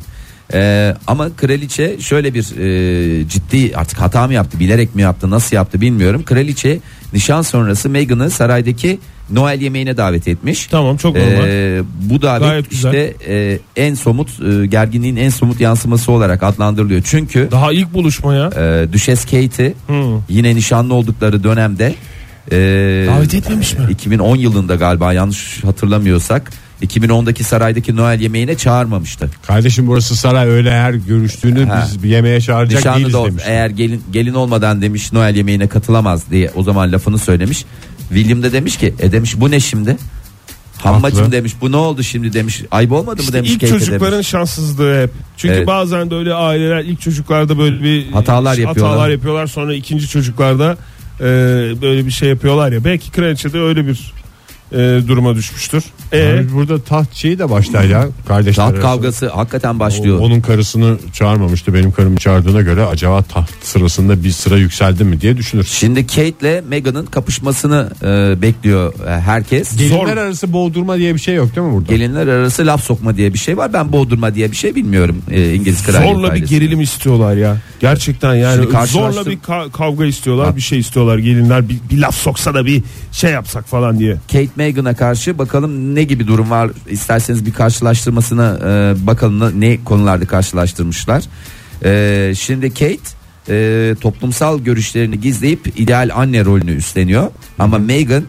Speaker 4: Ee, ama kraliçe şöyle bir e, ciddi artık hata mı yaptı bilerek mi yaptı nasıl yaptı bilmiyorum. Kraliçe nişan sonrası Meghan'ı saraydaki Noel yemeğine davet etmiş.
Speaker 6: Tamam çok normal.
Speaker 4: Ee, bu davet
Speaker 6: Gayet güzel.
Speaker 4: işte e, en somut e, gerginliğin en somut yansıması olarak adlandırılıyor. Çünkü
Speaker 6: Daha ilk buluşmaya
Speaker 4: e, Düşes Kate'i
Speaker 6: Hı.
Speaker 4: yine nişanlı oldukları dönemde e,
Speaker 6: davet etmemiş mi?
Speaker 4: 2010 yılında galiba yanlış hatırlamıyorsak 2010'daki saraydaki Noel yemeğine çağırmamıştı.
Speaker 3: Kardeşim burası saray öyle her görüştüğünü
Speaker 4: Ha.
Speaker 3: biz bir yemeğe çağıracak
Speaker 4: Nişanlı
Speaker 3: değiliz
Speaker 4: da ol-
Speaker 3: demiş.
Speaker 4: eğer gelin gelin olmadan demiş Noel yemeğine katılamaz diye o zaman lafını söylemiş. William da demiş ki e demiş bu ne şimdi? Hammacım demiş bu ne oldu şimdi demiş. Ayıp olmadı mı
Speaker 5: İşte
Speaker 4: demiş.
Speaker 5: ilk
Speaker 4: Keyfe
Speaker 5: çocukların
Speaker 4: demiş.
Speaker 5: şanssızlığı hep. Çünkü
Speaker 4: Evet.
Speaker 5: bazen de öyle aileler ilk çocuklarda böyle bir
Speaker 4: Hatalar yapıyorlar.
Speaker 5: hatalar yapıyorlar. Sonra ikinci çocuklarda e, böyle bir şey yapıyorlar ya. Belki kraliçe de öyle bir e, duruma düşmüştür. E,
Speaker 6: Ee?
Speaker 3: Yani burada taht şeyi de başlar ya kardeşler.
Speaker 4: Rahat
Speaker 3: arasında.
Speaker 4: kavgası hakikaten başlıyor.
Speaker 3: Onun karısını çağırmamıştı benim karımı çağırdığına göre acaba taht sırasında bir sıra yükseldi mi diye düşünürsün.
Speaker 4: Şimdi Kate'le Meghan'ın kapışmasını e, bekliyor e, herkes.
Speaker 3: Gelinler arası boğdurma diye bir şey yok değil mi burada?
Speaker 4: Gelinler arası laf sokma diye bir şey var. Ben boğdurma diye bir şey bilmiyorum e, İngiliz kraliyet
Speaker 5: zorla bir
Speaker 4: ailesinde.
Speaker 5: gerilim istiyorlar ya. Gerçekten yani
Speaker 4: Şimdi karşılaştım.
Speaker 5: zorla bir ka- kavga istiyorlar. Bir şey istiyorlar gelinler. Bir, bir laf soksa da bir şey yapsak falan diye.
Speaker 4: Kate Meghan'a karşı bakalım ne gibi durum var. İsterseniz bir karşılaştırmasına e, bakalım da ne konularda karşılaştırmışlar. E, şimdi Kate e, toplumsal görüşlerini gizleyip ideal anne rolünü üstleniyor. Ama Meghan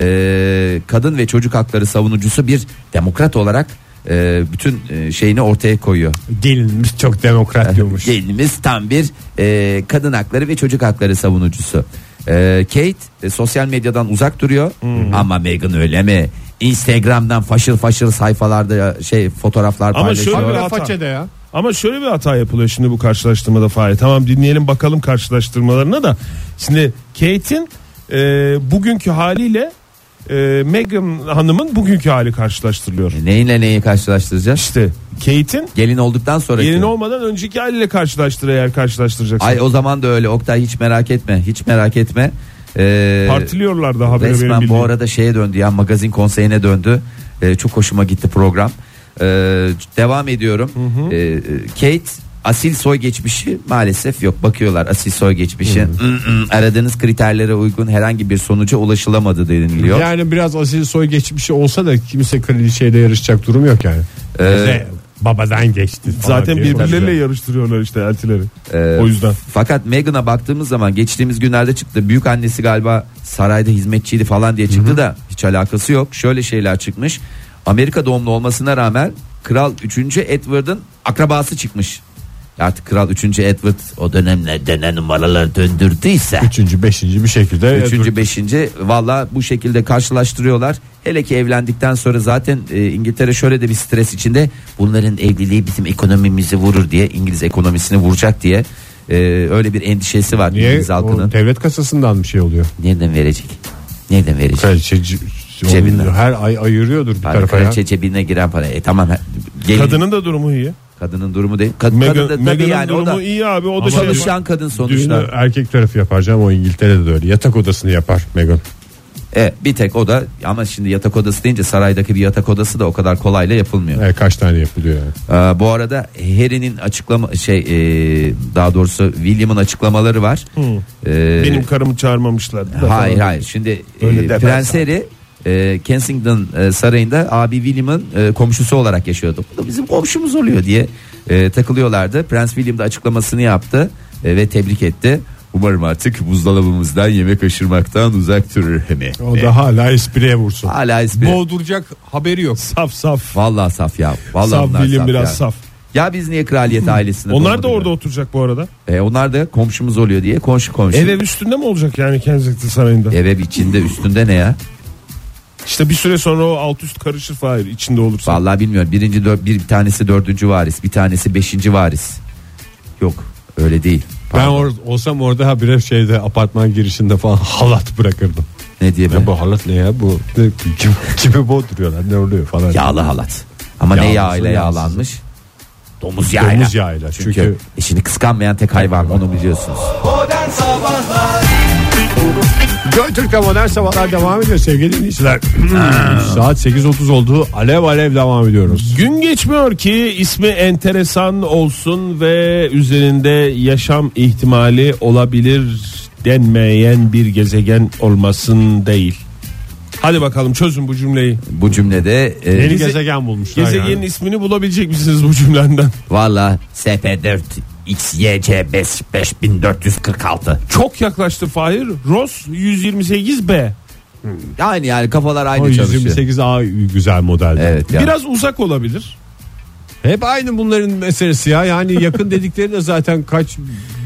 Speaker 4: e, kadın ve çocuk hakları savunucusu bir demokrat olarak e, bütün e, şeyini ortaya koyuyor.
Speaker 3: Gelinimiz çok demokrat diyormuş.
Speaker 4: Gelinimiz tam bir e, kadın hakları ve çocuk hakları savunucusu. E, Kate e, sosyal medyadan uzak duruyor ama Meghan öyle mi? Instagram'dan faşır faşır sayfalarda şey fotoğraflar
Speaker 5: Ama
Speaker 4: paylaşıyor.
Speaker 5: şöyle bir
Speaker 3: Hala
Speaker 5: hata.
Speaker 3: façede ya.
Speaker 5: Ama şöyle bir hata yapılıyor şimdi bu karşılaştırmada Fahir. Tamam dinleyelim bakalım karşılaştırmalarına da. Şimdi Kate'in e, bugünkü haliyle e, Meghan Hanım'ın bugünkü hali karşılaştırılıyor.
Speaker 4: E, Neyle neyi karşılaştıracağız?
Speaker 5: İşte Kate'in
Speaker 4: Gelin olduktan sonra.
Speaker 5: gelin olmadan önceki haliyle karşılaştır eğer karşılaştıracaksın.
Speaker 4: Ay o zaman da öyle Oktay hiç merak etme. Hiç merak etme. E,
Speaker 5: Partiliyorlar da haberi benim
Speaker 4: Resmen bu
Speaker 5: bildiğim.
Speaker 4: arada şeye döndü ya magazin konseyine döndü. Ee, çok hoşuma gitti program. Ee, devam ediyorum. Ee, Kate asil soy geçmişi maalesef yok. Bakıyorlar asil soy geçmişi. Mm-mm, aradığınız kriterlere uygun herhangi bir sonuca ulaşılamadı deniliyor.
Speaker 3: Yani biraz asil soy geçmişi olsa da kimse kraliçeyle yarışacak durum yok yani. Bize babadan geçti. falan
Speaker 5: Zaten
Speaker 3: diye
Speaker 5: birbirleriyle
Speaker 3: konuşuyor.
Speaker 5: yarıştırıyorlar işte eltileri.
Speaker 4: Ee,
Speaker 5: o yüzden.
Speaker 4: Fakat Meghan'a baktığımız zaman geçtiğimiz günlerde çıktı. Büyük annesi galiba sarayda hizmetçiydi falan diye çıktı da hiç alakası yok. Şöyle şeyler çıkmış. Amerika doğumlu olmasına rağmen Kral 3. Edward'ın akrabası çıkmış. Artık Kral 3. Edward o dönemlerde ne numaralar döndürdüyse.
Speaker 3: Üçüncü beşinci bir şekilde. e,
Speaker 4: Üçüncü, beşinci valla bu şekilde karşılaştırıyorlar. Hele ki evlendikten sonra zaten e, İngiltere şöyle de bir stres içinde. Bunların evliliği bizim ekonomimizi vurur diye İngiliz ekonomisini vuracak diye e, öyle bir endişesi var
Speaker 3: Niye?
Speaker 4: İngiliz halkının.
Speaker 3: O devlet kasasından bir şey oluyor.
Speaker 4: Nereden verecek? Nereden verecek?
Speaker 3: Kraliçe c-
Speaker 4: Cebinden.
Speaker 3: onun her ay ayırıyordur bir
Speaker 4: Para,
Speaker 3: tarafa ya.
Speaker 4: kraliçe cebine giren para. E tamam. Gelin, kadının,
Speaker 5: Kadının da durumu iyi.
Speaker 4: durumu değil. Kad, kadın da,
Speaker 5: Meghan,
Speaker 4: tabii
Speaker 5: Meghan'ın
Speaker 4: yani o
Speaker 5: durumu
Speaker 4: da
Speaker 5: iyi abi. O da şey yapar.
Speaker 4: çalışan kadın sonuçta.
Speaker 3: Düğünü erkek tarafı yapar canım o İngiltere'de de öyle. Yatak odasını yapar Meghan.
Speaker 4: E, bir tek o da ama şimdi yatak odası deyince saraydaki bir yatak odası da o kadar kolayla yapılmıyor.
Speaker 3: Evet, E, kaç tane yapılıyor yani.
Speaker 4: Ee, bu arada Harry'nin açıklama şey e, daha doğrusu William'ın açıklamaları var. Ee,
Speaker 5: Benim karımı çağırmamışlar.
Speaker 4: hayır hayır. Şimdi e,
Speaker 5: Öyle de
Speaker 4: Prens
Speaker 5: ben-
Speaker 4: Harry e, Kensington e, sarayında abi William'ın e, komşusu olarak yaşıyordu. Bu da bizim komşumuz oluyor diye e, takılıyorlardı. Prens William da açıklamasını yaptı e, ve tebrik etti. Umarım artık buzdolabımızdan yemek aşırmaktan uzak durur hemi.
Speaker 3: O da hala espriye vursun.
Speaker 4: Hala espri.
Speaker 3: Boğduracak haberi yok.
Speaker 5: Saf saf.
Speaker 4: Vallahi saf ya. Vallahi
Speaker 5: Saf
Speaker 4: bunlar
Speaker 5: bilim
Speaker 4: saf
Speaker 5: biraz
Speaker 4: ya.
Speaker 5: saf.
Speaker 4: Ya biz niye kraliyet ailesinde
Speaker 5: Onlar da
Speaker 4: doğmadık?
Speaker 5: orada oturacak bu arada.
Speaker 4: E, onlar da komşumuz oluyor diye komşu komşu.
Speaker 5: Ev ev üstünde mi olacak yani Kensington Sarayı'nda?
Speaker 4: Ev ev içinde üstünde ne ya?
Speaker 5: İşte bir süre sonra o alt üst karışır Fahir içinde olursa.
Speaker 4: Vallahi bilmiyorum. Birinci dör- bir tanesi dördüncü varis, bir tanesi beşinci varis. Yok öyle değil.
Speaker 3: Ben or- olsam orada ha bir şeyde apartman girişinde falan halat bırakırdım.
Speaker 4: Ne diye ben?
Speaker 3: Ya bu halat ne ya bu? Ne- Kim, kimi boğduruyorlar ne oluyor falan.
Speaker 4: Yağlı halat. Ama ne
Speaker 3: şey Yağlısı,
Speaker 4: yağıyla
Speaker 3: yağsızı.
Speaker 4: yağlanmış? Domuz yağıyla.
Speaker 3: Domuz yağıyla.
Speaker 4: Çünkü,
Speaker 3: Çünkü-
Speaker 4: eşini kıskanmayan tek hayvan onu biliyorsunuz.
Speaker 2: Modern Sabahlar
Speaker 3: Joy Türk'te modern sabahlar devam ediyor sevgili dinleyiciler.
Speaker 4: Hmm.
Speaker 3: Saat 8.30 oldu. Alev alev devam ediyoruz.
Speaker 5: Gün geçmiyor ki ismi enteresan olsun ve üzerinde yaşam ihtimali olabilir denmeyen bir gezegen olmasın değil. Hadi bakalım çözün bu cümleyi.
Speaker 4: Bu cümlede e,
Speaker 3: Yeni
Speaker 5: Geze-
Speaker 3: gezegen bulmuşlar
Speaker 5: Gezegenin
Speaker 3: yani.
Speaker 5: ismini bulabilecek misiniz bu cümlenden?
Speaker 4: valla SP4 XYC 5 5446.
Speaker 5: Çok yaklaştı Fahir. Ross 128b.
Speaker 4: Yani yani kafalar
Speaker 3: O
Speaker 4: aynı çalışıyor.
Speaker 3: 128A güzel model.
Speaker 4: Evet ya.
Speaker 5: Biraz uzak olabilir.
Speaker 3: Hep aynı bunların meselesi ya. Yani yakın dedikleri de zaten kaç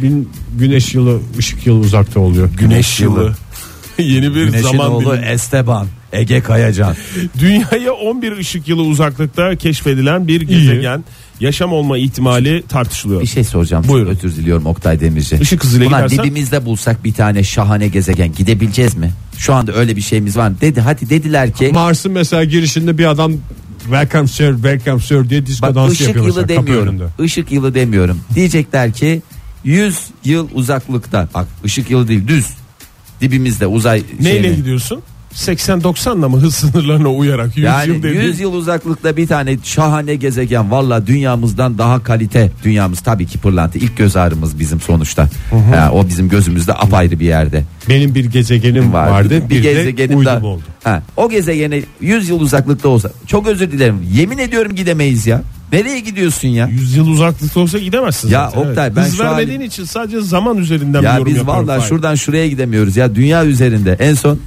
Speaker 3: bin güneş yılı, ışık yılı uzakta oluyor.
Speaker 5: Güneş yılı. Yeni bir
Speaker 4: Güneşin
Speaker 5: zaman
Speaker 4: oğlu
Speaker 5: dilimi.
Speaker 4: Esteban Ege Kayacan.
Speaker 5: Dünyaya 11 ışık yılı uzaklıkta keşfedilen bir gezegen yaşam olma ihtimali tartışılıyor.
Speaker 4: Bir şey soracağım.
Speaker 5: Buyurun.
Speaker 4: Özür diliyorum Oktay Demirci.
Speaker 5: Işık hızıyla
Speaker 4: Ulan
Speaker 5: gidersen-
Speaker 4: dibimizde bulsak bir tane şahane gezegen gidebileceğiz mi? Şu anda öyle bir şeyimiz var mı? Dedi hadi dediler ki
Speaker 3: Mars'ın mesela girişinde bir adam welcome sir, welcome sir diye disco
Speaker 4: bak
Speaker 3: dansı
Speaker 4: ışık
Speaker 3: yapıyor mesela
Speaker 4: yılı
Speaker 3: kapı
Speaker 4: demiyorum.
Speaker 3: önünde.
Speaker 4: Işık yılı demiyorum. Diyecekler ki 100 yıl uzaklıkta. Bak ışık yılı değil düz. Dibimizde uzay
Speaker 5: Neyle
Speaker 4: şeyini-
Speaker 5: gidiyorsun? 80-90'la mı hız sınırlarına uyarak 100
Speaker 4: Yani
Speaker 5: yıl
Speaker 4: 100 yıl uzaklıkta bir tane şahane gezegen valla dünyamızdan daha kalite dünyamız tabii ki pırlanta ilk göz ağrımız bizim sonuçta Ha, o bizim gözümüzde apayrı bir yerde
Speaker 3: Benim bir gezegenim vardı, bir, de
Speaker 4: gezegenim
Speaker 3: uydum
Speaker 4: daha-
Speaker 3: oldu.
Speaker 4: Ha, o gezegene 100 yıl uzaklıkta olsa çok özür dilerim yemin ediyorum gidemeyiz ya nereye gidiyorsun ya
Speaker 5: yıl uzaklıkta olsa gidemezsin
Speaker 4: Ya
Speaker 5: zaten.
Speaker 4: Oktay, ben
Speaker 5: Hız
Speaker 4: şu an-
Speaker 5: vermediğin için sadece zaman üzerinden bir
Speaker 4: ya
Speaker 5: yorum
Speaker 4: biz
Speaker 5: yapıyorum.
Speaker 4: valla
Speaker 5: Fahir.
Speaker 4: şuradan şuraya gidemiyoruz ya dünya üzerinde en son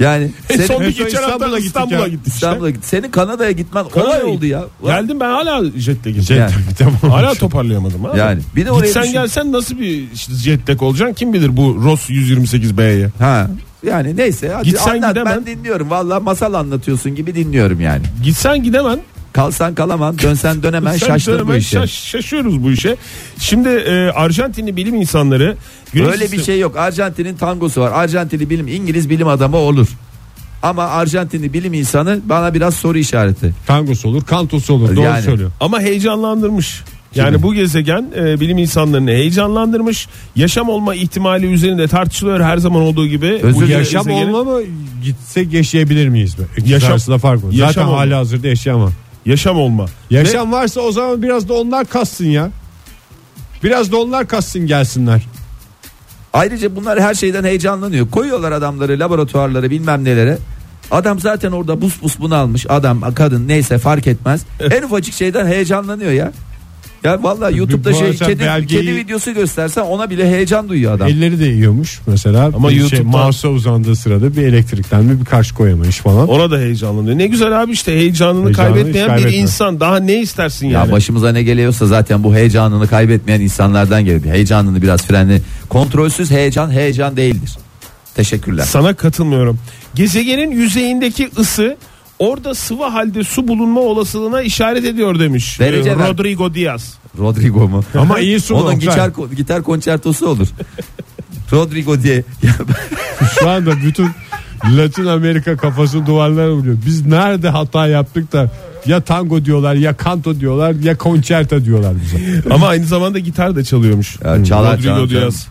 Speaker 4: yani
Speaker 5: En
Speaker 4: senin-
Speaker 5: son
Speaker 3: En
Speaker 5: bir
Speaker 3: son
Speaker 5: geçen hafta
Speaker 3: İstanbul'a
Speaker 5: da
Speaker 3: gittik
Speaker 5: İstanbul'a
Speaker 3: ya.
Speaker 5: gittik. işte.
Speaker 4: İstanbul'a git. Senin Kanada'ya gitmen
Speaker 5: Kanada'ya
Speaker 4: olay oldu ya.
Speaker 5: Geldim ben hala jetle gittim.
Speaker 4: Yani.
Speaker 3: Tamam.
Speaker 5: Hala toparlayamadım. Abi.
Speaker 4: Yani. Bir de oraya
Speaker 5: Gitsen
Speaker 4: düşün.
Speaker 5: gelsen nasıl bir jet lag olacaksın kim bilir bu ROS 128B'ye.
Speaker 4: Ha. Yani neyse hadi
Speaker 5: Gitsen
Speaker 4: anlat
Speaker 5: gidemem.
Speaker 4: ben dinliyorum. Valla masal anlatıyorsun gibi dinliyorum yani.
Speaker 5: Gitsen gidemem.
Speaker 4: Kalsan kalaman, dönsen dönemen
Speaker 5: Sen
Speaker 4: şaştın bu
Speaker 5: söylemen
Speaker 4: işi.
Speaker 5: şaş- şaşıyoruz bu işe. Şimdi e, Arjantinli bilim insanları güneş
Speaker 4: Öyle bir
Speaker 5: sistemi-
Speaker 4: şey yok. Arjantin'in tangosu var. Arjantinli bilim İngiliz bilim adamı olur. Ama Arjantinli bilim insanı bana biraz soru işareti.
Speaker 3: Tangosu olur, kantosu olur. Doğru
Speaker 4: Yani.
Speaker 3: söylüyor.
Speaker 5: ama heyecanlandırmış. Yani bu gezegen e, bilim insanlarını heyecanlandırmış. Yaşam olma ihtimali üzerinde tartışılıyor her zaman olduğu gibi.
Speaker 4: Özür
Speaker 5: Bu
Speaker 4: dilerim.
Speaker 5: gezegenin-
Speaker 3: Yaşam olma mı gitsek yaşayabilir miyiz mi? İkisi
Speaker 5: Yaşam-
Speaker 3: arasında fark var.
Speaker 5: yaşam
Speaker 3: Zaten
Speaker 5: olma.
Speaker 3: hala hazırda yaşayan var.
Speaker 5: Yaşam olma.
Speaker 3: Yaşam varsa o zaman biraz da onlar kassın ya. Biraz da onlar kassın gelsinler.
Speaker 4: Ayrıca bunlar her şeyden heyecanlanıyor. Koyuyorlar adamları laboratuvarlara bilmem nelere. Adam zaten orada bus bus bunu almış. Adam kadın neyse fark etmez. en ufacık şeyden heyecanlanıyor ya. Ya vallahi YouTube'da
Speaker 3: bu
Speaker 4: şey
Speaker 3: arada
Speaker 4: kedi,
Speaker 3: belgeyi-
Speaker 4: kedi videosu göstersen ona bile heyecan duyuyor adam.
Speaker 3: Elleri de yiyormuş mesela.
Speaker 5: Ama
Speaker 3: bir şey,
Speaker 5: YouTube'dan-
Speaker 3: mouse'a uzandığı sırada bir elektrikten bir, bir karşı koyamayış falan.
Speaker 5: Ona da heyecanlanıyor. Ne güzel abi işte heyecanını,
Speaker 3: Heyecanını hiç
Speaker 5: kaybetmeyen bir
Speaker 3: kaybetme.
Speaker 5: insan. Daha ne istersin
Speaker 4: Ya
Speaker 5: yani?
Speaker 4: başımıza ne geliyorsa zaten bu heyecanını kaybetmeyen insanlardan gelir. Heyecanını biraz frenle. Kontrolsüz heyecan heyecan değildir. Teşekkürler.
Speaker 5: Sana katılmıyorum. Gezegenin yüzeyindeki ısı orada sıvı halde su bulunma olasılığına işaret ediyor demiş.
Speaker 4: Derece
Speaker 5: Ee,
Speaker 4: ver.
Speaker 5: Rodrigo Diaz.
Speaker 4: Rodrigo mu?
Speaker 3: Ama iyi su
Speaker 4: Onun
Speaker 3: Oktay.
Speaker 4: gitar, gitar konçertosu olur. Rodrigo diye. Ya ben-
Speaker 3: Şu anda bütün Latin Amerika kafası duvarlara vuruyor. Biz nerede hata yaptık da ya tango diyorlar ya kanto diyorlar ya konçerta diyorlar bize.
Speaker 5: Ama aynı zamanda gitar da çalıyormuş.
Speaker 4: Ya çalar,
Speaker 5: Rodrigo
Speaker 4: çalar, çalar.
Speaker 5: Diaz.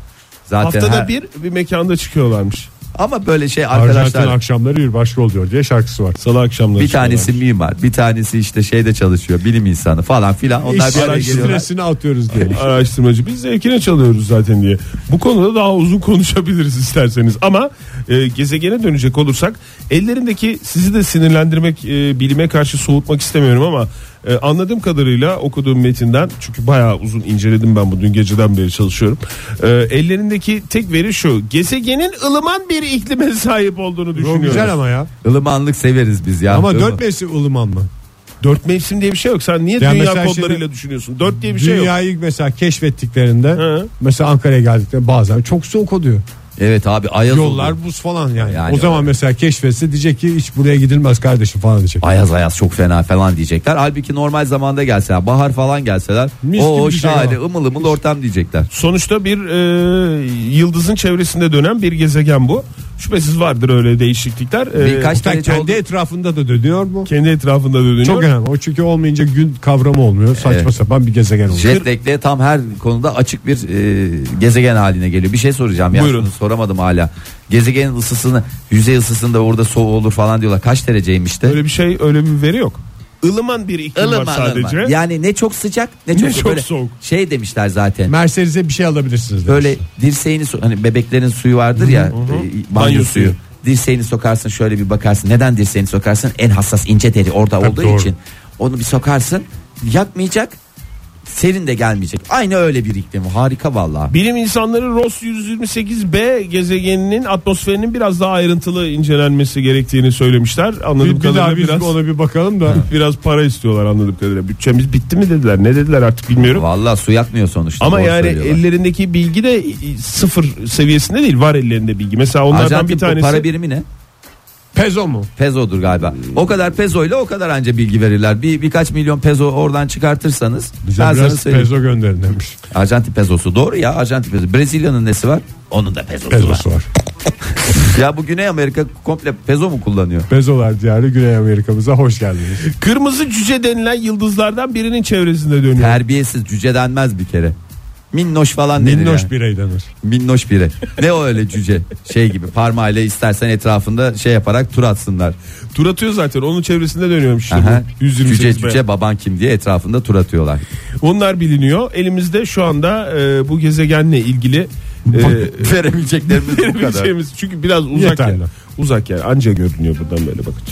Speaker 4: Zaten
Speaker 5: Haftada
Speaker 4: her-
Speaker 5: bir bir mekanda çıkıyorlarmış.
Speaker 4: ama böyle şey
Speaker 3: Arjantin
Speaker 4: arkadaşlar
Speaker 3: akşamları bir başka oluyor diye şarkısı var.
Speaker 5: Salı akşamları.
Speaker 4: bir tanesi mimar, bir tanesi işte şeyde çalışıyor, bilim insanı falan filan. Onlar bir araya
Speaker 3: İş
Speaker 4: geliyorlar.
Speaker 3: stresini atıyoruz diye.
Speaker 5: çıkıyorlar. araştırmacı biz zevkine çalıyoruz zaten diye. Bu konuda daha uzun konuşabiliriz isterseniz ama e, gezegene dönecek olursak ellerindeki sizi de sinirlendirmek e, bilime karşı soğutmak istemiyorum ama e, anladığım kadarıyla okuduğum metinden çünkü bayağı uzun inceledim ben bu dün geceden beri çalışıyorum. E, ellerindeki tek veri şu gezegenin ılıman bir iklime sahip olduğunu
Speaker 3: Çok
Speaker 5: düşünüyorum.
Speaker 3: güzel ama ya.
Speaker 4: Ilımanlık severiz biz ya.
Speaker 3: Ama
Speaker 4: Değil mi?
Speaker 3: dört mevsim ılıman mı?
Speaker 5: Dört mevsim diye bir şey yok. Sen niye
Speaker 3: Yani
Speaker 5: dünya
Speaker 3: mesela
Speaker 5: kodlarıyla
Speaker 3: şimdi-
Speaker 5: düşünüyorsun? Dört diye bir şey yok.
Speaker 3: Dünyayı mesela keşfettiklerinde
Speaker 5: Hı.
Speaker 3: mesela Ankara'ya geldiklerinde bazen çok soğuk oluyor.
Speaker 4: Evet abi ayaz
Speaker 3: Yollar
Speaker 4: oldu.
Speaker 3: buz falan yani.
Speaker 4: Yani
Speaker 3: o zaman mesela keşfetse diyecek ki hiç buraya gidilmez kardeşim falan diyecek.
Speaker 4: Ayaz ayaz çok fena falan diyecekler. Halbuki normal zamanda gelseler, bahar falan gelseler.
Speaker 3: Mis gibi şey
Speaker 4: o
Speaker 3: diyecek
Speaker 4: şahane
Speaker 3: ama.
Speaker 4: ımıl ımıl ortam diyecekler.
Speaker 5: Sonuçta bir e, yıldızın çevresinde dönen bir gezegen bu. Şüphesiz vardır öyle değişiklikler. E,
Speaker 4: Birkaç
Speaker 3: Hatta
Speaker 4: derece
Speaker 3: kendi
Speaker 4: oldu.
Speaker 3: etrafında da dönüyor mu?
Speaker 5: kendi etrafında dönüyor.
Speaker 3: Çok önemli. O çünkü olmayınca gün kavramı olmuyor. Saçma
Speaker 4: Evet. Şey-
Speaker 3: sapan bir gezegen oluyor.
Speaker 4: Jet lag'le tam her konuda açık bir e, gezegen haline geliyor. Bir şey soracağım ya.
Speaker 5: Buyurun.
Speaker 4: şunu Soramadım hala. Gezegenin ısısını, yüzey ısısında orada soğuk olur falan diyorlar. Kaç dereceymiş de?
Speaker 5: öyle bir şey, öyle bir veri yok. Ilıman bir iklim var
Speaker 4: Ilıman, ılıman.
Speaker 5: sadece.
Speaker 4: Yani ne çok sıcak ne çok,
Speaker 5: çok
Speaker 4: böyle
Speaker 5: soğuk.
Speaker 4: Şey demişler zaten.
Speaker 3: Mercedes'e bir şey alabilirsiniz. demiş.
Speaker 4: Böyle dirseğini so- hani bebeklerin suyu vardır ya, e, banyo
Speaker 5: Banyo
Speaker 4: suyu.
Speaker 5: suyu.
Speaker 4: Dirseğini sokarsın şöyle bir bakarsın. Neden dirseğini sokarsın? En hassas ince deri orada olduğu
Speaker 3: doğru.
Speaker 4: için. Onu bir sokarsın. Yakmayacak. Serin de gelmeyecek. Aynı öyle bir iklim. Harika vallahi.
Speaker 5: Bilim insanları Ross 128b gezegeninin atmosferinin biraz daha ayrıntılı incelenmesi gerektiğini söylemişler.
Speaker 3: Bir,
Speaker 5: Anladığım
Speaker 3: bir daha
Speaker 5: kadarıyla
Speaker 3: biz
Speaker 5: biraz
Speaker 3: ona bir bakalım da.
Speaker 5: biraz para istiyorlar anladığım kadarıyla. Bütçemiz bitti mi dediler? Ne dediler artık bilmiyorum.
Speaker 4: Vallahi su yakmıyor sonuçta.
Speaker 5: Ama
Speaker 4: doğru
Speaker 5: yani
Speaker 4: söylüyorlar.
Speaker 5: ellerindeki bilgi de sıfır seviyesinde değil. Var ellerinde bilgi. Mesela onlardan
Speaker 4: Arjantin
Speaker 5: bir tanesi
Speaker 4: para birimi ne?
Speaker 3: Pezo mu?
Speaker 4: Pezodur galiba. O kadar pezoyla o kadar anca bilgi verirler. Bir birkaç milyon pezo oradan çıkartırsanız ben sana
Speaker 3: Biraz
Speaker 4: söyleyeyim.
Speaker 3: pezo gönderin demiş.
Speaker 4: Arjantin pezosu doğru ya Arjantin pezosu. Brezilya'nın nesi var? Onun da pezosu, var.
Speaker 3: Pezosu var.
Speaker 4: Ya bu Güney Amerika komple pezo mu kullanıyor?
Speaker 3: Pezolar diyarı Güney Amerika'mıza hoş geldiniz.
Speaker 5: kırmızı cüce denilen yıldızlardan birinin çevresinde dönüyor.
Speaker 4: Terbiyesiz cüce denmez bir kere. Minnoş falan denir
Speaker 3: Minnoş
Speaker 4: yani.
Speaker 3: birey denir.
Speaker 4: Minnoş biri. ne o öyle cüce? Şey gibi parmağıyla istersen etrafında şey yaparak tur atsınlar.
Speaker 5: Tur atıyor zaten. Onun çevresinde dönüyormuş işte.
Speaker 4: Aha.
Speaker 5: bu 128
Speaker 4: Cüce
Speaker 5: be.
Speaker 4: cüce baban kim diye etrafında tur atıyorlar.
Speaker 5: Onlar biliniyor. Elimizde şu anda e, bu gezegenle ilgili e,
Speaker 3: Ee,
Speaker 4: Verebileceklerimiz bu kadar.
Speaker 5: verebileceğimiz çünkü biraz uzak
Speaker 3: Yeterli.
Speaker 5: yani. Uzak yani. Anca görünüyor buradan böyle bakınca.